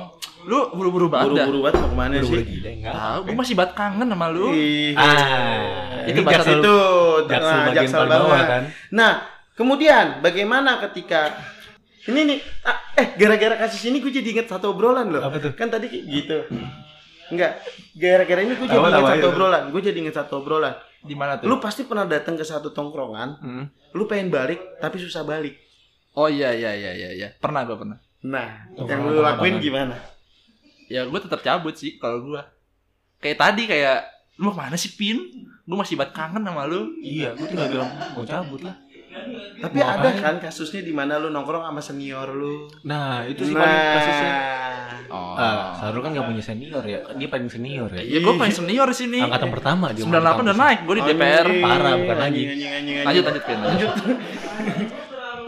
B: lu buru-buru banget dah.
A: Buru-buru banget mau
C: Iya
A: kemana sih?
B: tahu gue masih banget kangen sama lu
A: Ih.
C: Ah,
A: Itu
C: ini
A: bahasa
C: jaksel-
A: itu.
C: Ah, jaksel
A: Nah,
C: bagian
A: jaksel
C: paling bawah,
A: banget.
C: kan?
A: Nah, kemudian bagaimana ketika ini nih ah, eh gara-gara kasus ini gue jadi inget satu obrolan loh.
C: Apa tuh?
A: Kan tadi ki- gitu. Enggak, gara-gara ini gue jadi
C: Tawa,
A: inget
C: tawa,
A: satu
C: iya.
A: obrolan. Gue jadi inget satu obrolan.
B: di mana tuh
A: Lu pasti pernah datang ke satu tongkrongan,
C: Hmm.
A: lu pengen balik tapi susah balik.
B: oh iya iya iya iya iya. pernah gue pernah
A: Nah,
C: Tongkrongan,
A: yang lu lakuin
C: tongkrongan.
A: gimana?
B: ya gue tetap cabut sih kalau gue kayak tadi kayak lu mau mana sih pin gue masih banget kangen sama lu
C: Iya, gue tinggal bilang mau cabut lah.
A: Tapi
C: Mau
A: ada
C: ngapain?
A: kan kasusnya di mana lu nongkrong sama senior lu.
C: Nah, itu sih paling kasusnya.
A: Nah,
B: oh
C: Ah, Sarul kan gak punya senior ya. Dia paling senior ya.
B: ya gue pengen senior di sini
C: Angkatan pertama dia.
B: 98 udah naik gue di DPR
A: Anjing,
C: parah, bukan lagi.
A: anjing, anjing, anjing, anjing.
B: lanjut lanjut Pin, iya, lanjut *laughs*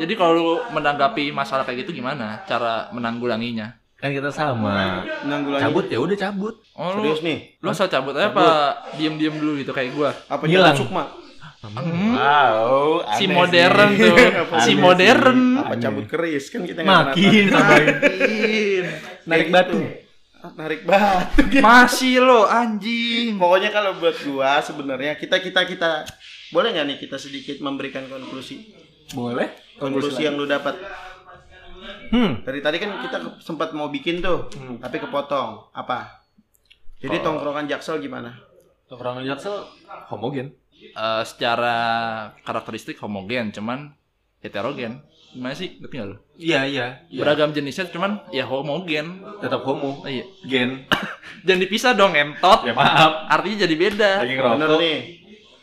B: jadi kalau lu menanggapi masalah kayak gitu gimana cara menanggulanginya
C: Kan kita sama.
A: Nanggulangi.
C: Cabut ya udah cabut.
B: oh lu
A: Serius nih.
B: lu asal cabut aja apa diem diem dulu gitu kayak gua
A: Apa jalan
C: Hilang.
A: sukma?
B: Hmm,
C: Wow,
B: si modern
A: *laughs*
C: Gitu.
B: tuh si
C: Aneh
B: modern
A: Apa cabut keris kan kita nggak
C: Makin
A: pernah tahu.
C: tambahin.
A: Makin.
C: Narik
A: Kayak
C: batu.
A: gitu. Narik batu. *laughs*
B: masih lo anjing
A: Pokoknya kalau buat gua sebenarnya kita kita kita boleh nggak nih kita sedikit memberikan konklusi
C: Boleh?
A: konklusi yang lu dapat
C: Hmm.
A: dari tadi kan kita ke- sempat mau bikin tuh
C: Hmm. Oh.
A: tapi kepotong apa jadi tongkrongan jaksel gimana
C: Orang Jaksel homogen.
B: Eh, secara karakteristik homogen cuman heterogen gimana sih ngerti nggak lu
C: Iya, iya. Berarti
B: beragam jenisnya cuman ya homogen
C: tetap homo.
B: Oh, iya
C: Gen.
B: jangan dipisah dong entot
C: ya maaf.
B: artinya jadi beda
C: Lagi
A: bener
C: ngerokok.
A: nih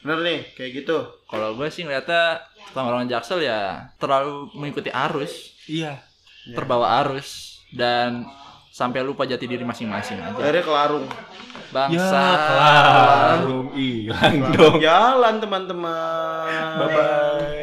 A: bener nih kayak gitu
B: Kalau gue sih ngeliatnya tongkrongan Jaksel ya terlalu mengikuti arus,
C: Iya.
B: terbawa arus dan sampai lupa jati diri masing-masing aja.
A: akhirnya kelarung
C: Ya,
B: Bangsa.
C: kelar. Belum hilang dong.
A: jalan teman-teman
C: Bye-bye.